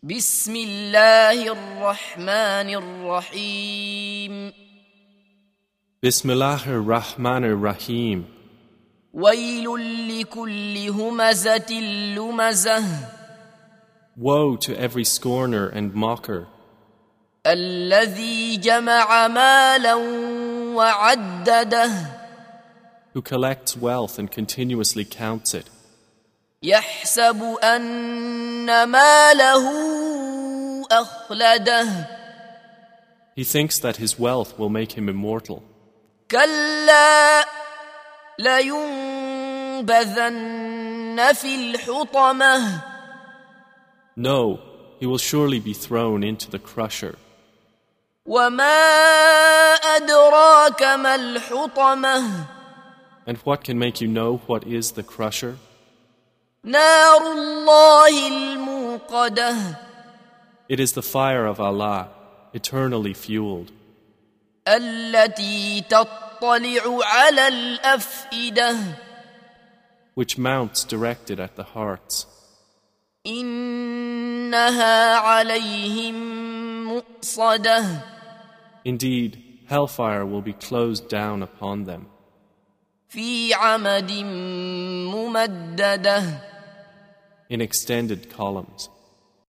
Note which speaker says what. Speaker 1: بسم الله الرحمن الرحيم
Speaker 2: Bismillah ar-Rahman ar-Rahim.
Speaker 1: ويل لكل همزة لمزة
Speaker 2: Woe to every scorner and mocker,
Speaker 1: الذي جمع مالا وعدده
Speaker 2: who collects wealth and continuously counts it,
Speaker 1: يحسب أن ماله أخلده
Speaker 2: He thinks that his wealth will make him immortal.
Speaker 1: كلا لينبذن في الحطمه
Speaker 2: No, he will surely be thrown into the crusher.
Speaker 1: وما أدراك ما الحطمة
Speaker 2: And what can make you know what is the crusher?
Speaker 1: نار الله الموقدة
Speaker 2: It is the fire of Allah, eternally fueled,
Speaker 1: التي تطلع على الأفئدة
Speaker 2: which mounts directed at the hearts.
Speaker 1: إنها عليهم مؤصدة
Speaker 2: Indeed, hellfire will be closed down upon them,
Speaker 1: في عمد ممدده
Speaker 2: in extended columns.